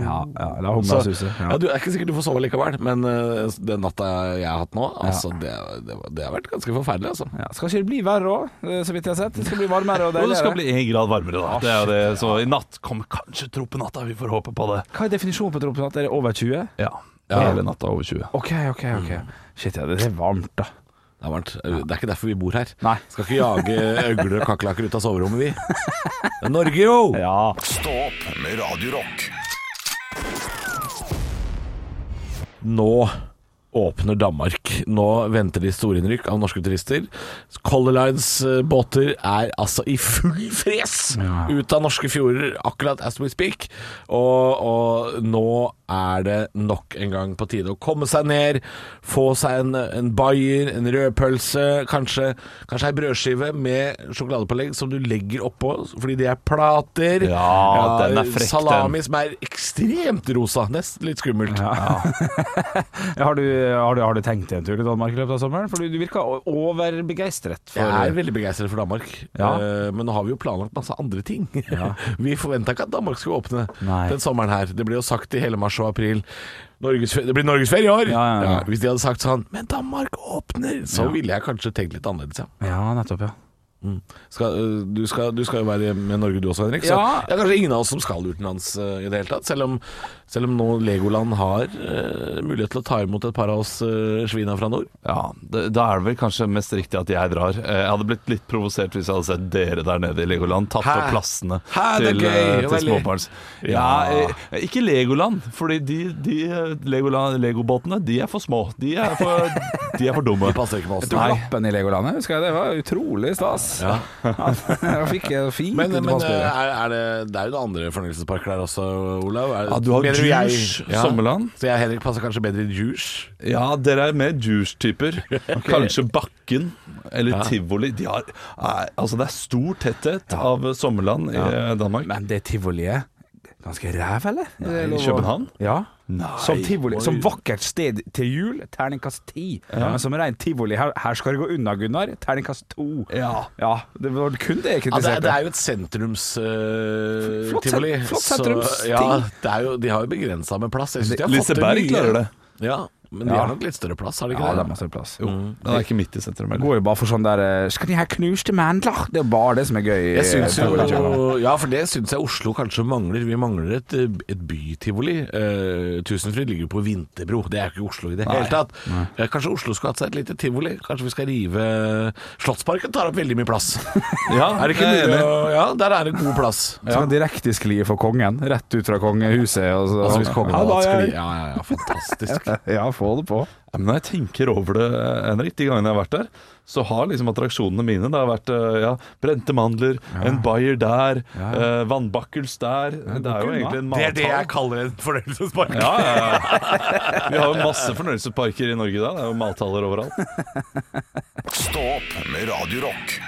ja, La humla
Så,
suse.
ja.
Ja.
du, det er ikke sikkert du får sove likevel, men eh, den natta jeg har hatt nå, altså, det, det, det har vært ganske forferdelig. Altså.
Ja, skal ikke det bli verre òg, så vidt jeg har sett? Det skal bli varmere og
Jo,
deiligere.
det skal bli én grad varmere, da. Det er jo det. Så i natt kommer kanskje tropenatta. Vi får håpe på det.
Hva er definisjonen på tropenatt? Er det over 20?
Ja. Hele natta over 20.
OK, OK. ok Shit, ja, det er varmt, da.
Det er varmt. Det er ikke derfor vi bor her.
Nei.
Skal ikke jage øgler og kakerlakker ut av soverommet, vi. Det er Norge, jo!
Ja.
Stå opp med Radio Rock.
Nå åpner Danmark. Nå venter de storinnrykk av norske turister. Color Lines eh, båter er altså i full fres ut av norske fjorder akkurat as we speak. Og, og nå er det nok en gang på tide å komme seg ned, få seg en, en bayer, en rødpølse, kanskje, kanskje ei brødskive med sjokoladepålegg som du legger oppå fordi de er plater.
Ja, den er frekk, den.
Salami som er ekstremt rosa. Nesten litt skummelt.
Har du, har, du, har du tenkt til en tur til Danmark i løpet av sommeren? For du, du virka o- overbegeistret for
Jeg er veldig begeistret for Danmark,
Ja.
Eh, men nå har vi jo planlagt masse andre ting. vi forventa ikke at Danmark skulle åpne
Nei.
den sommeren her. Det ble jo sagt i hele mars og april Norges, Det blir norgesferie i år!
Ja, ja, ja.
hvis de hadde sagt sånn Men Danmark åpner! Så ville jeg kanskje tenkt litt annerledes, ja.
Ja, nettopp, ja.
Skal, øh, du, skal, du skal jo være med Norge du også, Henrik. Så
Ja.
det er kanskje ingen av oss som skal utenlands øh, i det hele tatt. Selv om, selv om nå Legoland har øh, mulighet til å ta imot et par av oss øh, svina fra nord.
Ja, det, Da er det vel kanskje mest riktig at jeg drar. Eh, Jeg hadde blitt litt provosert hvis jeg hadde sett dere der nede i Legoland tatt
Hæ?
opp plassene
Hæ, det er
til,
gøy,
eh, til
veldig.
småbarns. Ja, eh, ikke Legoland, fordi de, de eh, Legoland, Legobåtene de er for små. De er for, de er for dumme.
Det passer ikke med oss.
Du lappen i Legolandet, husker jeg. Det var utrolig stas.
Ja.
Jeg fikk eh, fint
Men, men øh,
tilbakespill.
er, er det, det er jo noen andre fornøyelsesparker der også, Olav. Er,
Ja, du har
mener jeg-
Djurs, Sommerland.
Så jeg og Henrik passer kanskje bedre i Djurs.
Ja, dere er mer douche-typer. Kanskje Bakken eller Tivoli. De har, eh, altså det er stor tetthet av sommerland i eh, Danmark.
Men det tivoliet Ganske ræv, eller? Er det
Nei,
lov å-
København?
Ja.
Nei.
Som tivoli. Som vakkert sted til jul, terningkast ti. Men som rein tivoli, her, her skal det gå unna, Gunnar. Terningkast to.
Ja.
Ja, det var kun det
Ja, det, er,
jeg kritiserte.
Altså, det er jo et sentrums-tivoli.
Flott sen- flott sentrums-ting.
ja, det er jo, De har jo begrensa med plass. Jeg synes de har fått til
Liseberg
mye.
klarer det.
Ja, men de
Ja.
har nok litt større plass, har de ikke
ja, det
det?
er masse plass.
Jo, den er ikke midt i sentrum.
Det
heller.
går jo bare for sånn der eh, Skal de ha knuste mandler? Det er bare det som er gøy.
Jeg syns
eh, Legoland.
jo Ja, for det syns jeg Oslo kanskje mangler. Vi mangler et, et bytivoli. Eh, Tusenfryd ligger jo på Vinterbro. Det er jo ikke Oslo i det hele tatt. Eh, Kanskje Oslo skulle hatt seg et lite tivoli. Kanskje vi skal rive Slottsparken tar opp veldig mye plass.
Ja,
er det ikke
jeg er
mulig
enig.
å Ja, der er det god plass.
Sånn direktesklie for kongen, rett ut fra kongehuset. Og så,
Altså hvis kongen
ja,
hadde
da,
hatt skli
jeg-
Ja, ja, ja, fantastisk.
ja, få det på.
Ja, men når jeg tenker over det, eh, Henrik, de gangene jeg har vært der, så har liksom attraksjonene mine Det har vært eh, ja, brente mandler, en bayer der, eh, vannbakkels der Det er jo
unna.
egentlig en
Det er det jeg
matall.
kaller en fornøyelsespark.
Ja, ja, ja. Vi har jo masse fornøyelsesparker i Norge da. Det er jo mathaller overalt.
Stå opp med Radio Rock.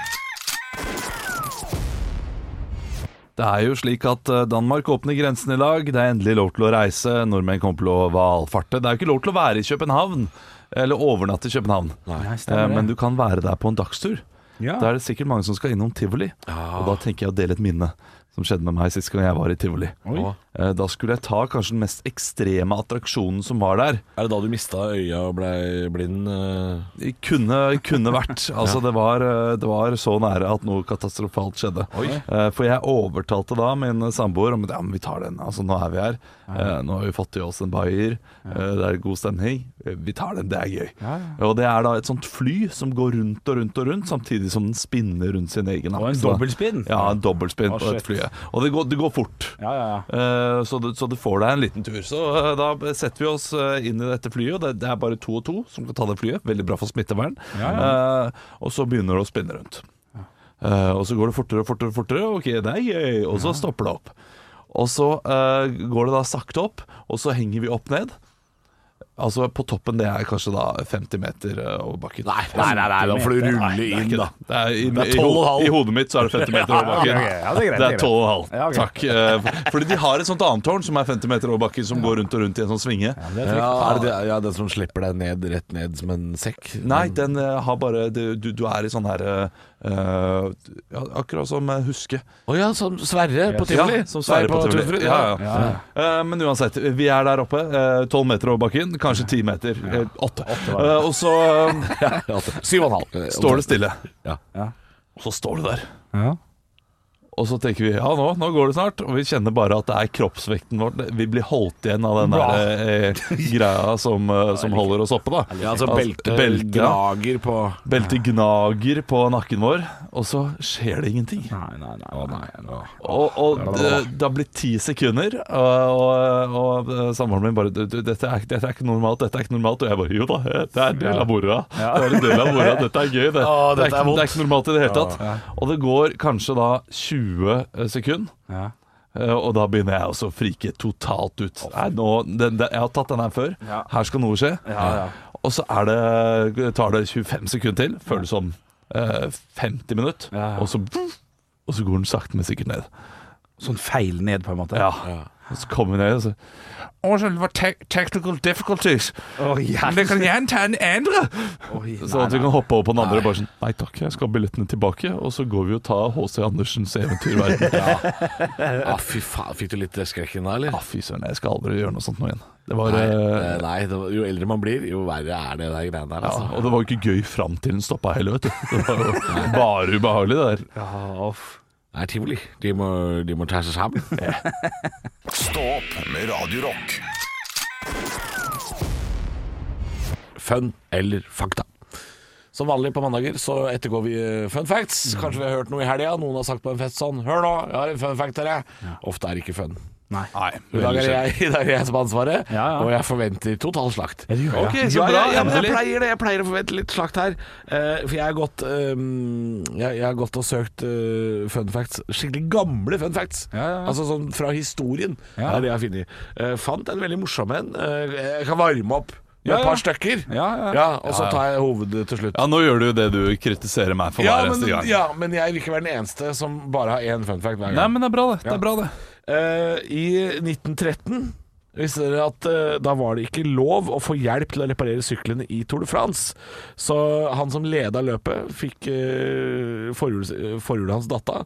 Det er jo slik at eh, Danmark åpner grensen i dag. Det er endelig lov til å reise. Nordmenn kommer til å valfarte. Det er jo ikke lov til å være i København eller overnatte i København. Eh,
stemmer det.
Men du kan være der på en dagstur.
Ja.
Da er det sikkert mange som skal innom tivoli. Og da tenker jeg å dele et minne som skjedde med meg sist gang jeg var i tivoli.
Oi.
Eh, Da skulle jeg ta kanskje den mest ekstreme attraksjonen som var der.
Er det da du mista øya og blei blind? eh?
Det Kunne, kunne vært. Altså, det, var, eh, det var så nære at noe katastrofalt skjedde. Eh, For jeg overtalte da min samboer om at ja, men vi tar den. Altså, nå er vi her. Eh, Nå har vi fått i oss en bayer. Eh, Det er god stemning. Eh, Vi tar den. Det er gøy. Og det er da et sånt fly som går rundt og rundt og rundt, samtidig som den spinner rundt sin egen
Og en
akse, da.
dobbeltspinn.
Ja, en dobbeltspinn
Å,
på dette
shit.
flyet. Og det går, det går fort.
Ja, ja, ja.
Eh, Så du, så du får deg en liten tur. Så eh, da setter vi oss eh, inn i dette flyet. og Det, det er bare to og to som kan ta det flyet. Veldig bra for smittevern. Eh, og så begynner det å spinne rundt. Eh, og så går det fortere og fortere, og fortere. Ok, det er gøy. Og så stopper det opp. Og så eh, går det da sakte opp, og så henger vi opp ned. Altså På toppen det er kanskje da 50 meter eh, over bakken. Nei,
Nei, nei, nei, da får du
Nei, det
rulle
er
inn,
ikke
da.
det. Det er, i,
Det er
i ho-
12,5.
I hodet mitt så er det 50 meter over bakken.
Ja, ok, ja, det er greit, det er greit.
12,5.
Ja, ok.
Takk. eh, Fordi de har et sånt annet tårn som er 50 meter over bakken, som går rundt og rundt i en sånn svinge.
Ja, er det, det- ja, den som slipper deg ned, rett ned som en sekk?
Nei, den eh, har bare Du, du du er i sånn her eh, eh, ja, Akkurat som eh, Huske.
Å ja, som Sverre på tivoli.
Ja, som Sverre
Nei,
på tivoli.
Tusenfryd,
Ja, ja. Eh, men uansett, vi er der oppe. eh, Tolv meter over bakken. Kanskje ti meter. eh, Åtte. Eh, og så eh,
Ja, Syv og en halv.
står det stille.
Ja.
Ja.
Og så står du der.
Ja.
Og så tenker vi ja, nå, nå går det snart. Og vi kjenner bare at det er kroppsvekten vår. Vi blir holdt igjen av den
Bra.
der eh, greia som, eh, som holder oss oppe, da.
Ja, altså belte,
belte, ja.
gnager på
Beltet gnager på nakken vår, og så skjer det ingenting.
Nei, nei, nei. Å, nei, nei.
Og, og det, det har blitt ti sekunder, og, og, og eh, samboeren min bare du, du, dette, er, 'Dette er ikke normalt, dette er ikke normalt.' Og jeg bare 'Jo da, det er en del av moroa. Det er en del av moroa. Dette er gøy. Det,
Å,
det,
dette
er,
er
ikke, det er ikke normalt i det hele
Ja.
tatt. Og det går kanskje da 20 sekunder.
Ja.
Eh, Og da begynner jeg også å frike totalt ut. Nei, nå, den, den, jeg har tatt den her før.
Ja.
Her skal noe skje.
Ja,
Og så er det, tar det 25 sekunder til, føles som eh, 50 minutter.
Ja, ja.
Og, så, og så går den sakte, men sikkert ned.
Sånn feil ned, på en måte.
Ja. Og så kom hun ned og så Also, it was tec- technical difficulties.
Å,
Men dere kan gjerne ta en andre! Sånn at vi kan hoppe over på den andre.
Nei.
Bare sånn, Nei takk, jeg skal ha billettene tilbake. Og så går vi og tar H.C. Andersens eventyrverden. ja.
Ja, fy faen, Fikk du litt eh, skrekken da, eller?
ah, fy søren, jeg skal aldri gjøre noe sånt nå igjen. Det var,
Nei,
eh,
eh, nei det var, jo eldre man blir, jo verre er det der greiene der.
ja,
Altså.
og det var jo ikke gøy fram til den stoppa heller, vet du. Det var jo bare ubehagelig, det der.
Det er tivoli. De må, de må ta seg sammen.
Stå opp med Radio Rock.
Fun eller fakta. Som vanlig på mandager så ettergår vi eh, fun facts. Kanskje vi har hørt noe i helga. Noen har sagt på en fest sånn 'Hør nå, jeg har en fun fact til deg'. Ofte er det ikke fun.
Nei,
I dag er det jeg, i dag er jeg som har ansvaret,
Ja, ja.
og jeg forventer total slakt.
Ok, så
Ja,
bra.
ja, ja, men jeg
Endelig.
pleier det. Jeg pleier å forvente litt slakt her. Eh, for jeg har gått ehm, jeg, jeg har gått og søkt eh, fun facts. Skikkelig gamle fun facts.
Ja, ja, ja.
Altså sånn fra historien.
Ja.
Er det jeg har funnet. Eh, fant en veldig morsom en. Eh, jeg kan varme opp med et
Ja, ja.
par stykker.
Ja, ja.
og så
Ja, ja.
tar jeg hovedet til slutt.
Ja, nå gjør du jo det du kritiserer meg for hver
men,
eneste gang.
ja, men jeg vil ikke være den eneste som bare har én fun fact hver gang.
Nei, men det er bra, det. Det
Ja.
er bra, det.
Eh, I 1913 Visste dere at eh, da var det ikke lov å få hjelp til å reparere syklene i Tour de France? Så han som leda løpet, fikk eh, forhjuls- eh, forhjulet hans datta.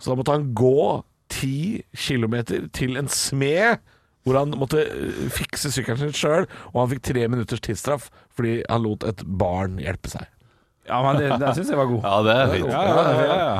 Så da måtte han gå ti kilometer til en smed, hvor han måtte eh, fikse sykkelen sin sjøl. Og han fikk tre minutters tidsstraff fordi han lot et barn hjelpe seg.
Ja, men det, den syns jeg var god.
Ja, det er fint.
Ja, ja, ja, ja.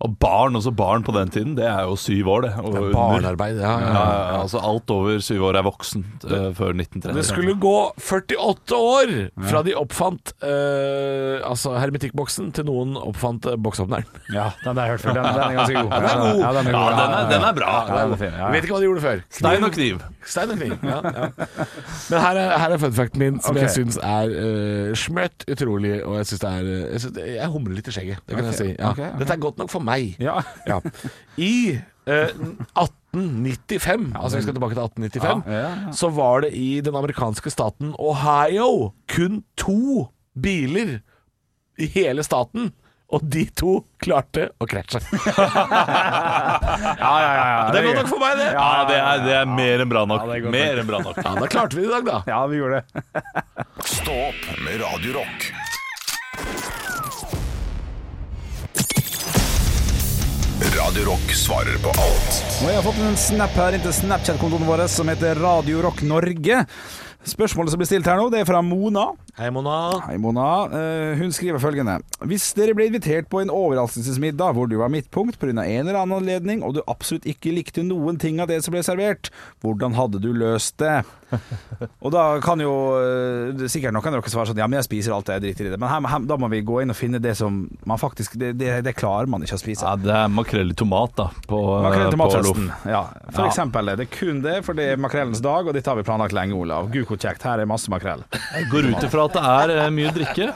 Og barn, også barn på den tiden, det er jo syv år, det. Og under.
Barnearbeid, ja. ja,
Ja,
ja.
ja, altså alt over syv år er voksen eh, før 1930.
Det skulle gå 48 år fra de oppfant eh, altså hermetikkboksen til noen oppfant eh, boksåpneren.
ja den har jeg hørt før. Den, den er ganske god.
den er god.
Ja, den er,
Ja,
god.
den er, den er bra.
Ja, den er fin. Ja,
Jeg vet ikke hva de gjorde før.
Stein og kniv.
Stein og kniv. Ja, ja. Men her er, her er fun facten min, som
Ok.
jeg syns er uh, smørt utrolig. Og jeg syns det er eh, Jeg, synes det, jeg humrer litt i skjegget, det kan
Ok,
jeg si. Ja.
ok, ok.
Dette er godt nok for meg.
ja.
Ja. I eh, 1895, altså vi skal tilbake til 1895,
Ja, ja, ja.
så var det i den amerikanske staten Ohio kun to biler i hele staten. Og de to klarte å krasje.
Ja, ja, ja, ja.
Det er godt nok for meg, det.
Ja, det er, det er mer enn bra nok.
Ja, det er godt
Mer enn bra nok.
Ja, Da klarte vi det i dag, da.
Ja, vi gjorde det.
Stå opp med Radio Rock. Radio Rock svarer på alt.
Og jeg har fått en snap her inn til Snapchat-kontoen vår som heter Radio Rock Norge. Spørsmålet som blir stilt her nå, det er fra Mona.
Hei, Mona.
Hei, Mona. Eh, hun skriver følgende Hvis dere ble invitert på en overraskelsesmiddag hvor du var midtpunkt pga. en eller annen anledning, og du absolutt ikke likte noen ting av det som ble servert, hvordan hadde du løst det? Og da kan jo eh, det er sikkert noen av dere svare sånn Ja, men jeg spiser alt, jeg driter i det. Men her, her, da må vi gå inn og finne det som man faktisk Det, det, det klarer man ikke å spise.
Ja, det er makrell i tomat, da. På,
Makrell til
på
matfesten.
loff.
Ja, for
Ja.
eksempel. Det er kun det, for det er makrellens dag, og dette har vi planlagt lenge, Olav. Gud, hvor kjekt. Her er masse makrell.
Jeg går ut ifra at det er eh, mye drikke.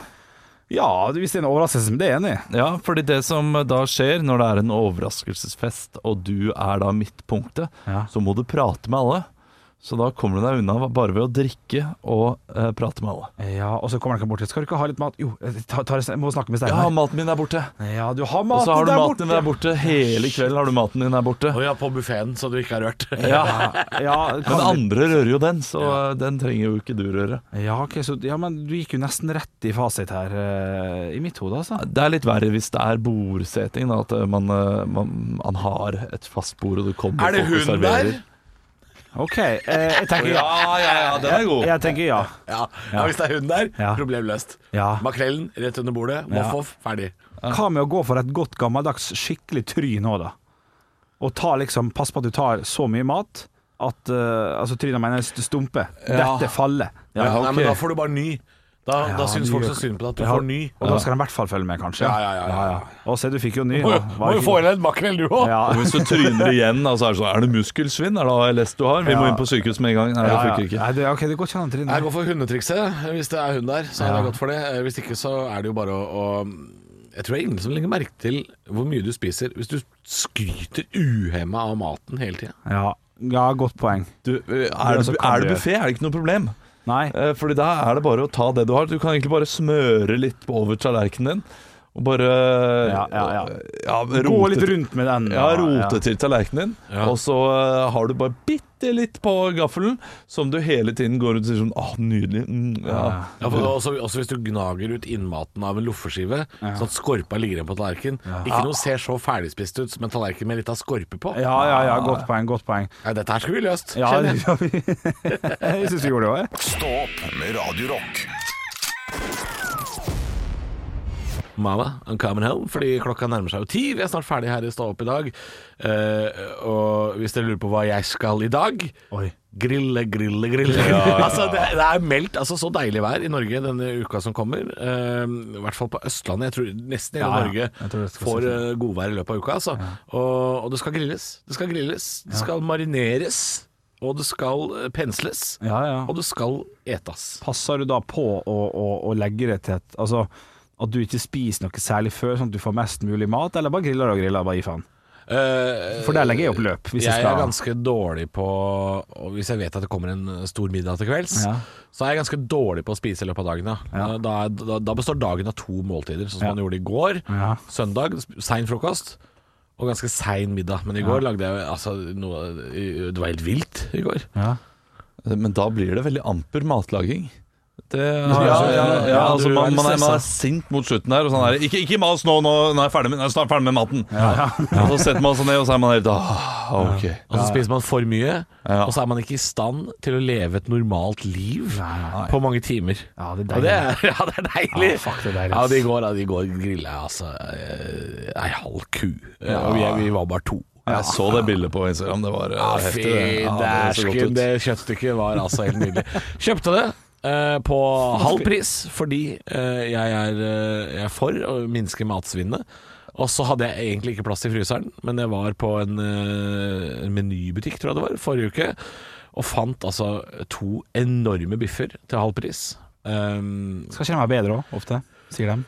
Ja, hvis det er en overraskelse, men det er jeg enig i.
Ja, fordi det som eh, da skjer når det er en overraskelsesfest, og du er da midtpunktet,
Ja.
så må du prate med alle. Så da kommer du deg unna bare ved å drikke og eh, prate med alle.
Ja, og så kommer han bort til Skal du ikke ha litt mat? Jo, eh, ta, ta, jeg må snakke med
Ja,
Steinar.
maten min er borte.
Ja, du har
Og
maten,
så har du
der,
maten din
borte.
der borte. Hele kvelden har du maten din der borte.
Å ja, på buffeen, så du ikke har rørt.
Ja.
Ja,
Men
kan du-
andre rører jo den, så eh, den trenger jo ikke du røre.
ja, ok, så, ja, men du gikk jo nesten rett i fasit her, eh, i mitt hode, altså.
Det er litt verre hvis det er bordseting, da, at eh, man, eh, man, man har et fast bord og det kommer
Er det
folk og
hun
serverer.
der?
Ok, eh, jeg tenker
Ja,
ja.
ja, ja, den er god.
Jeg tenker ja.
Ja, ja Hvis det er hun der,
Ja.
problem løst.
Ja.
Makrellen rett under bordet,
Ja.
voff-voff, ferdig.
Hva med å gå for et godt gammeldags skikkelig try nå, da? Og ta liksom, pass på at du tar så mye mat at eh, Altså tryna mener jeg st- stumpe.
Ja.
Dette faller.
Ja,
Ja,
Nei,
ok.
men da får du bare ny. Da,
Ja,
da syns
ny
folk
øk-
så synd på deg at du
Ja,
får ny.
Og da skal den i hvert fall følge med, kanskje.
Ja, ja, ja, ja.
Og se, du fikk jo ny.
Må jo,
da. Var
må jo
ikke-
få inn en makrell, du òg.
Ja.
Og hvis du tryner igjen, da, så er det sånn Er det muskelsvinn? Er det ALS du har? Vi må
Ja.
inn på sykehus med en gang. Nei, det funker ikke.
Nei, det, ok, det går ikke an å tryne.
Jeg går for hundetrikset. Hvis det er hun der, så hadde jeg gått for det. Eh, Hvis ikke, så er det jo bare å, å Jeg tror det er ingen som legger merke til hvor mye du spiser hvis du skryter uhemma av maten hele tida.
Ja, ja godt poeng.
Du, eh, er
altså
det,
kan
er det
du-
buffé, er det ikke noe problem.
Nei.
Eh, Fordi da er det bare å ta det du har. Du kan egentlig bare smøre litt over tallerkenen din. Og bare eh,
Ja, ja, ja.
ja,
Gå
rote
litt
til-
rundt med den.
Ja,
da.
rote til tallerkenen din.
Ja.
Og så eh, har du bare bitte bitte litt på gaffelen, som du hele tiden går rundt og sier sånn Åh, nydelig. Mm, ja.
Ja, for også, også hvis du gnager ut innmaten av en loffeskive, sånn at skorpa ligger igjen på tallerkenen. Ikke noe ser så ferdigspist ut som en tallerken med litt av skorpe på.
Ja, ja, ja, godt poeng, godt poeng.
Nei, dette her skulle vi løst.
Ja,
Kjenner jeg.
ja, vi- jeg syns vi gjorde det òg.
Stå opp med Radio Rock.
Mama, I'm coming home, fordi klokka nærmer seg jo ti. Vi er snart ferdig her i Stå opp i dag. Eh, og hvis dere lurer på hva jeg skal i dag Grille, grille, grille. altså, det, det er meldt altså, så deilig vær i Norge denne uka som kommer. Eh, I hvert fall på Østlandet. Jeg tror nesten hele
Ja, ja. Jeg
Norge
tror det skal
får
si
uh, godvær i løpet av uka. Altså. Og, og det skal grilles. Det skal grilles. Det skal marineres. Og det skal eh, pensles.
Ja, ja.
Og det skal etas.
Passer du da på å, å, å legge det til et Altså at du ikke spiser noe særlig før, sånn at du får mest mulig mat, eller bare griller og griller? Bare gi faen.
Eh,
For der legger jeg opp løp. Hvis jeg,
jeg
skal.
er ganske dårlig på og Hvis jeg vet at det kommer en eh, stor middag til kvelds,
Ja.
så er jeg ganske dårlig på å spise i løpet av dagen. Ja.
Ja.
Da, er- da, da består dagen av to måltider, sånn som
Ja.
man gjorde i går.
Ja.
Søndag, sp- sein frokost. Og ganske sein middag. Men i går lagde jeg altså, noe Det var helt vilt i går.
Ja.
Men da blir det veldig amper matlaging. Det, ja,
ja, ja,
altså,
du er
man,
litt
man, er, man er
stressa.
sint mot slutten der. Og sånn der ikke, 'Ikke mas nå, nå, nå er jeg ferdig med, nå er jeg snart ferdig med maten'. Og så setter man seg ned, og så er man helt «Åh, ok.
Og så spiser man for mye,
Ja.
og så er man ikke i stand til å leve et normalt liv
Nei.
på mange timer.
Ja, det er
Og det
deilig.
er, ja, det er deilig.
Ah,
Ja, fuck, det er deilig,
Ja,
ass.
de går, ja, de går grilla jeg, altså. eh, Ei halv ku. Eh, Og vi, er- vi var bare to.
Jeg så det bildet på Instagram. Det var eh,
Ja, Ah, fy
heftig. det. Ja, det så godt
dæsken,
ut.
det kjøttstykket var altså helt nydelig. Kjøpte det. eh, på halv pris, fordi eh, jeg, er, eh, jeg er for å minske matsvinnet. Og så hadde jeg egentlig ikke plass i fryseren, men jeg var på en eh, en menybutikk, tror jeg det var, forrige uke, og fant altså to enorme biffer til halv pris. Um,
Skal kjenne meg bedre òg, ofte, sier dem.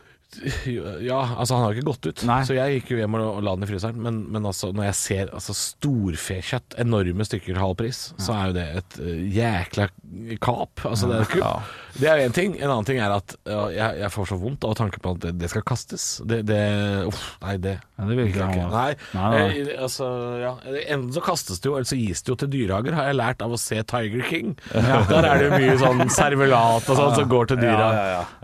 ja, altså han har jo ikke gått ut,
Nei.
så jeg gikk jo hjem og, og la den i fryseren. Men, men altså, når jeg ser altså, storfekjøtt, enorme stykker halv pris, så er jo det et eh, jækla kap. Altså, det er jo kupp. Det er jo én ting. En annen ting er at ja, jeg, jeg får så vondt av tanken på at det, det skal kastes. Det, det Uff, nei, det
Ja, det vil ikke
jeg ikke.
jeg ha.
Nei,
Nei, nei.
eh, altså, ja. Enten så kastes det jo, eller så gis det jo til dyrehager, har jeg lært av å se Tiger King. Der er det jo mye sånn servelat og sånn som går til dyra.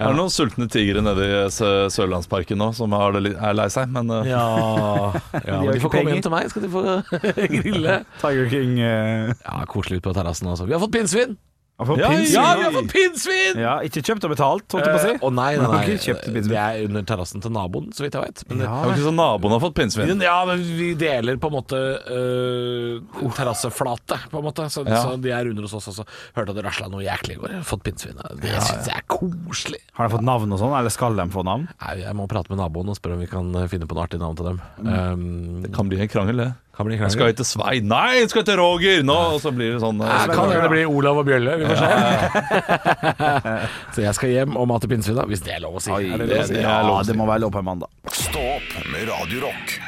Det er noen sultne tigre nede i eh, Sø- Sørlandsparken nå som har det litt, er lei seg, men eh,
Ja,
men
De
ikke
får komme
penger.
hjem til meg, skal de få grille.
Tiger King eh,
Ja, Koselig ute på terrassen. Altså. Vi har fått pinnsvin!
har fått
Ja,
pins.
Ja, vi har fått pinnsvin!
Ja, ikke kjøpt og betalt, holdt jeg på å si.
Eh, Å nei, nei,
Men har
nei.
ikke kjøpt pinnsvin.
det er under terrassen til naboen, så vidt jeg veit. Men det-
det er jo ikke sånn naboen har fått pinnsvin.
ja, men vi deler på en måte eh, terrasseflate, på en måte. Så,
Ja.
så de er under hos oss også. Hørte at det rasla noe jæklig i går. Jeg har Fått pinnsvin. Det syns jeg er koselig.
Har de fått navn og sånn, eller skal de få navn?
Nei, jeg må prate med naboen og spørre om vi kan øh, finne på noe artig navn til dem. Um,
Det kan bli en krangel, det.
kan bli
Jeg skal hete Svein. Nei, jeg skal hete Roger! Nå, og så blir det sånn eh,
Ja, kan hende det blir Olav og Bjølle, vi får se. så jeg skal hjem og mate pinnsvin, da, hvis det er lov å si. Er det lov å si?
det er lov å
det må være lov på en mandag.
Stå opp med Radio Rock.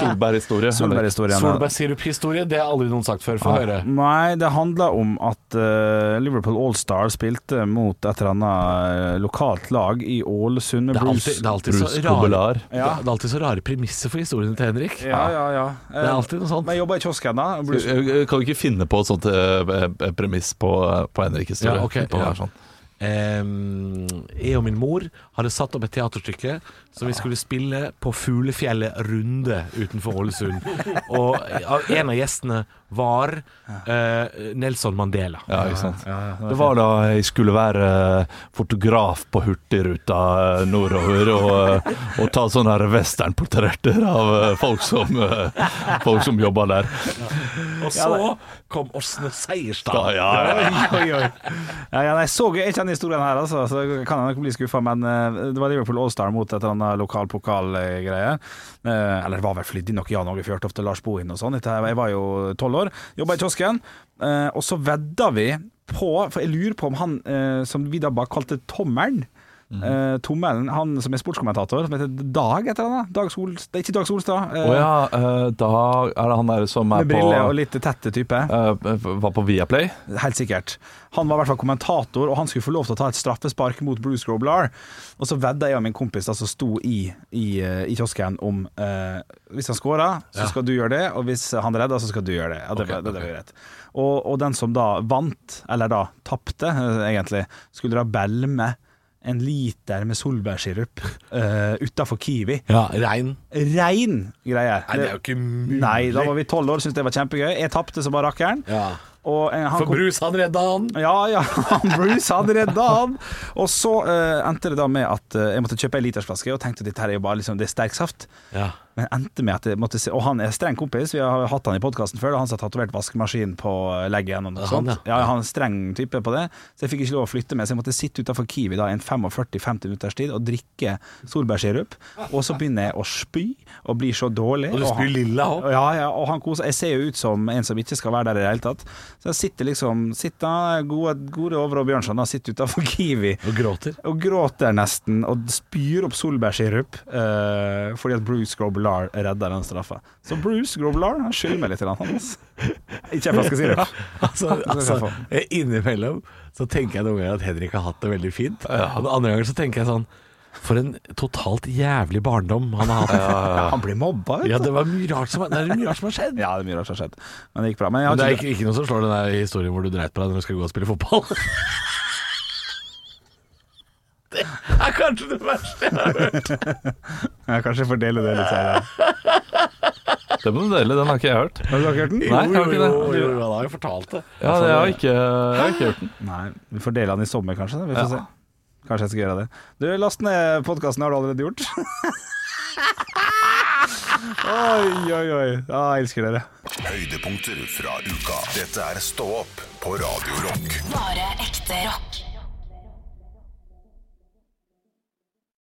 Solberg-historie.
Solberg-historien. ja.
Solbærsirup-historie, det har aldri noen sagt før. Få høre.
Ah, Nei, det handla om at eh, Liverpool All-Star spilte mot et eller annet eh, lokalt lag i Ålesund. med
Det er
Bruce-
alltid, det er alltid, så,
Bruce
rare,
Kobelar.
det er alltid så rare premisser for historiene til Henrik.
Ja, ja, ja. Eh,
Det er alltid noe sånt.
Men jeg jobba i kiosken da. og Bruce-
Eh, Kan vi ikke finne på et sånt eh, eh, premiss på, eh, på Henrik historie?
Ja, ok,
På
ja.
hver sånn.
Em, jeg og min mor hadde satt opp et teaterstykke som vi skulle spille på Fuglefjellet Runde utenfor Ålesund. Og en av gjestene var eh, Nelson Mandela.
Ja, ikke sant? det var da jeg skulle være eh, fotograf på Hurtigruta eh, nordover og, eh, og ta sånne her westernportretter av eh, folk som, eh, folk som jobba der.
Og så kom Åsne Seierstad.
Da, ja, ja, ja.
Oi, oi. Ja, ja, nei, så gøy. Jeg kjenner historien her, altså, så kan jeg nok bli skuffa. Men eh, det var Liverpool All-Star mot et eller annet lokal pokalgreie. Eh, eller det var vel flydde nok Jan Åge Fjørtoft og Lars Bohin og sånn. Dette her- Jeg var jo tolv år, jobba i kiosken. eh, og så vedda vi på For jeg lurer på om han eh, som vi da bare kalte Tommelen
Mhm.
Eh, tommelen, han som er sportskommentator, som heter Dag et eller annet. Dag Sol, det er ikke Dag Solstad. eh,
Å ja, eh, da er det han der som er
Med
på
briller og litt tette type.
eh, Var på Viaplay?
Helt sikkert. Han var i hvert fall kommentator, og han skulle få lov til å ta et straffespark mot Bruce Groblar. Og så vedda jeg og min kompis da, som sto i, i, eh, i kiosken om eh, hvis han scora, så skal du gjøre det, og hvis han redda, så skal du gjøre det. Ja, det, var- det, det var greit. Og, og den som da vant, eller da tapte, eh, egentlig, skulle da belme en liter med solbærsirup uh, utafor Kiwi.
Ja, rein.
Rein greie.
Nei, det er jo ikke mulig.
Nei, da var vi tolv år, syntes det var kjempegøy. Jeg tapte som bare rakkeren.
ja.
Og, eh, han
For
kom-
Bruce, han redda han.
ja, ja, han Bruce hadde redda han. Og så eh, endte det da med at eh, jeg måtte kjøpe ei litersflaske, og tenkte at dette her er jo bare liksom, det er sterk saft.
Ja.
Men endte med at jeg måtte se Og han er streng kompis, vi har hatt han i podkasten før, og han som har tatovert vaskemaskin på leggen og noe
Ja, han,
sånt.
ja.
Ja, han er streng type på det, så jeg fikk ikke lov å flytte med, så jeg måtte sitte utafor Kiwi da i en 45-50 minutters tid og drikke solbærsirup, og så begynner jeg å spy og blir så dårlig.
Og du
og han-
spyr lilla òg.
ja, ja, og han koser Jeg ser jo ut som en som ikke skal være der i det hele tatt. Så jeg sitter liksom sitter, gode, gode Over og Bjørnson da, sitter utenfor Kiwi
Og gråter.
og gråter nesten og spyr opp solbærsirup eh, fordi at Bruce Groblar redder den straffa. Så Bruce Groblar han skylder meg litt. Grann, han, altså. Ikke en flaske sirup.
Altså,
skal
altså, innimellom så tenker jeg noen ganger at Henrik har hatt det veldig fint. Og den andre ganger så tenker jeg sånn For en totalt jævlig barndom han har hatt.
Ja, han blir mobba, vet
Ja,
du.
det var mye rart som, det er mye rart som har skjedd.
Ja, det er mye rart som har skjedd, men det gikk bra. Men jeg
Men det
har
er
ikke,
ikke, ikke noe som slår den der historien hvor du dreit på deg når du skal gå og spille fotball. Det er kanskje det verste.
jeg kanskje jeg får dele det litt senere.
Det må du dele, den har ikke jeg hørt.
Har du ikke hørt den?
Nei, jeg har ikke det.
jo, jo, han har jo fortalt det.
Ja, det har jeg ikke, jeg har ikke hørt den.
Nei, vi får dele den i sommer kanskje. da. Vi får
Ja.
se. Kanskje jeg skal gjøre det. Du, last ned podkasten, har du allerede gjort? oi, oi, oi. Ja, jeg elsker dere.
Høydepunkter fra uka. Dette er Stå opp på Radio Rock.
Bare ekte rock.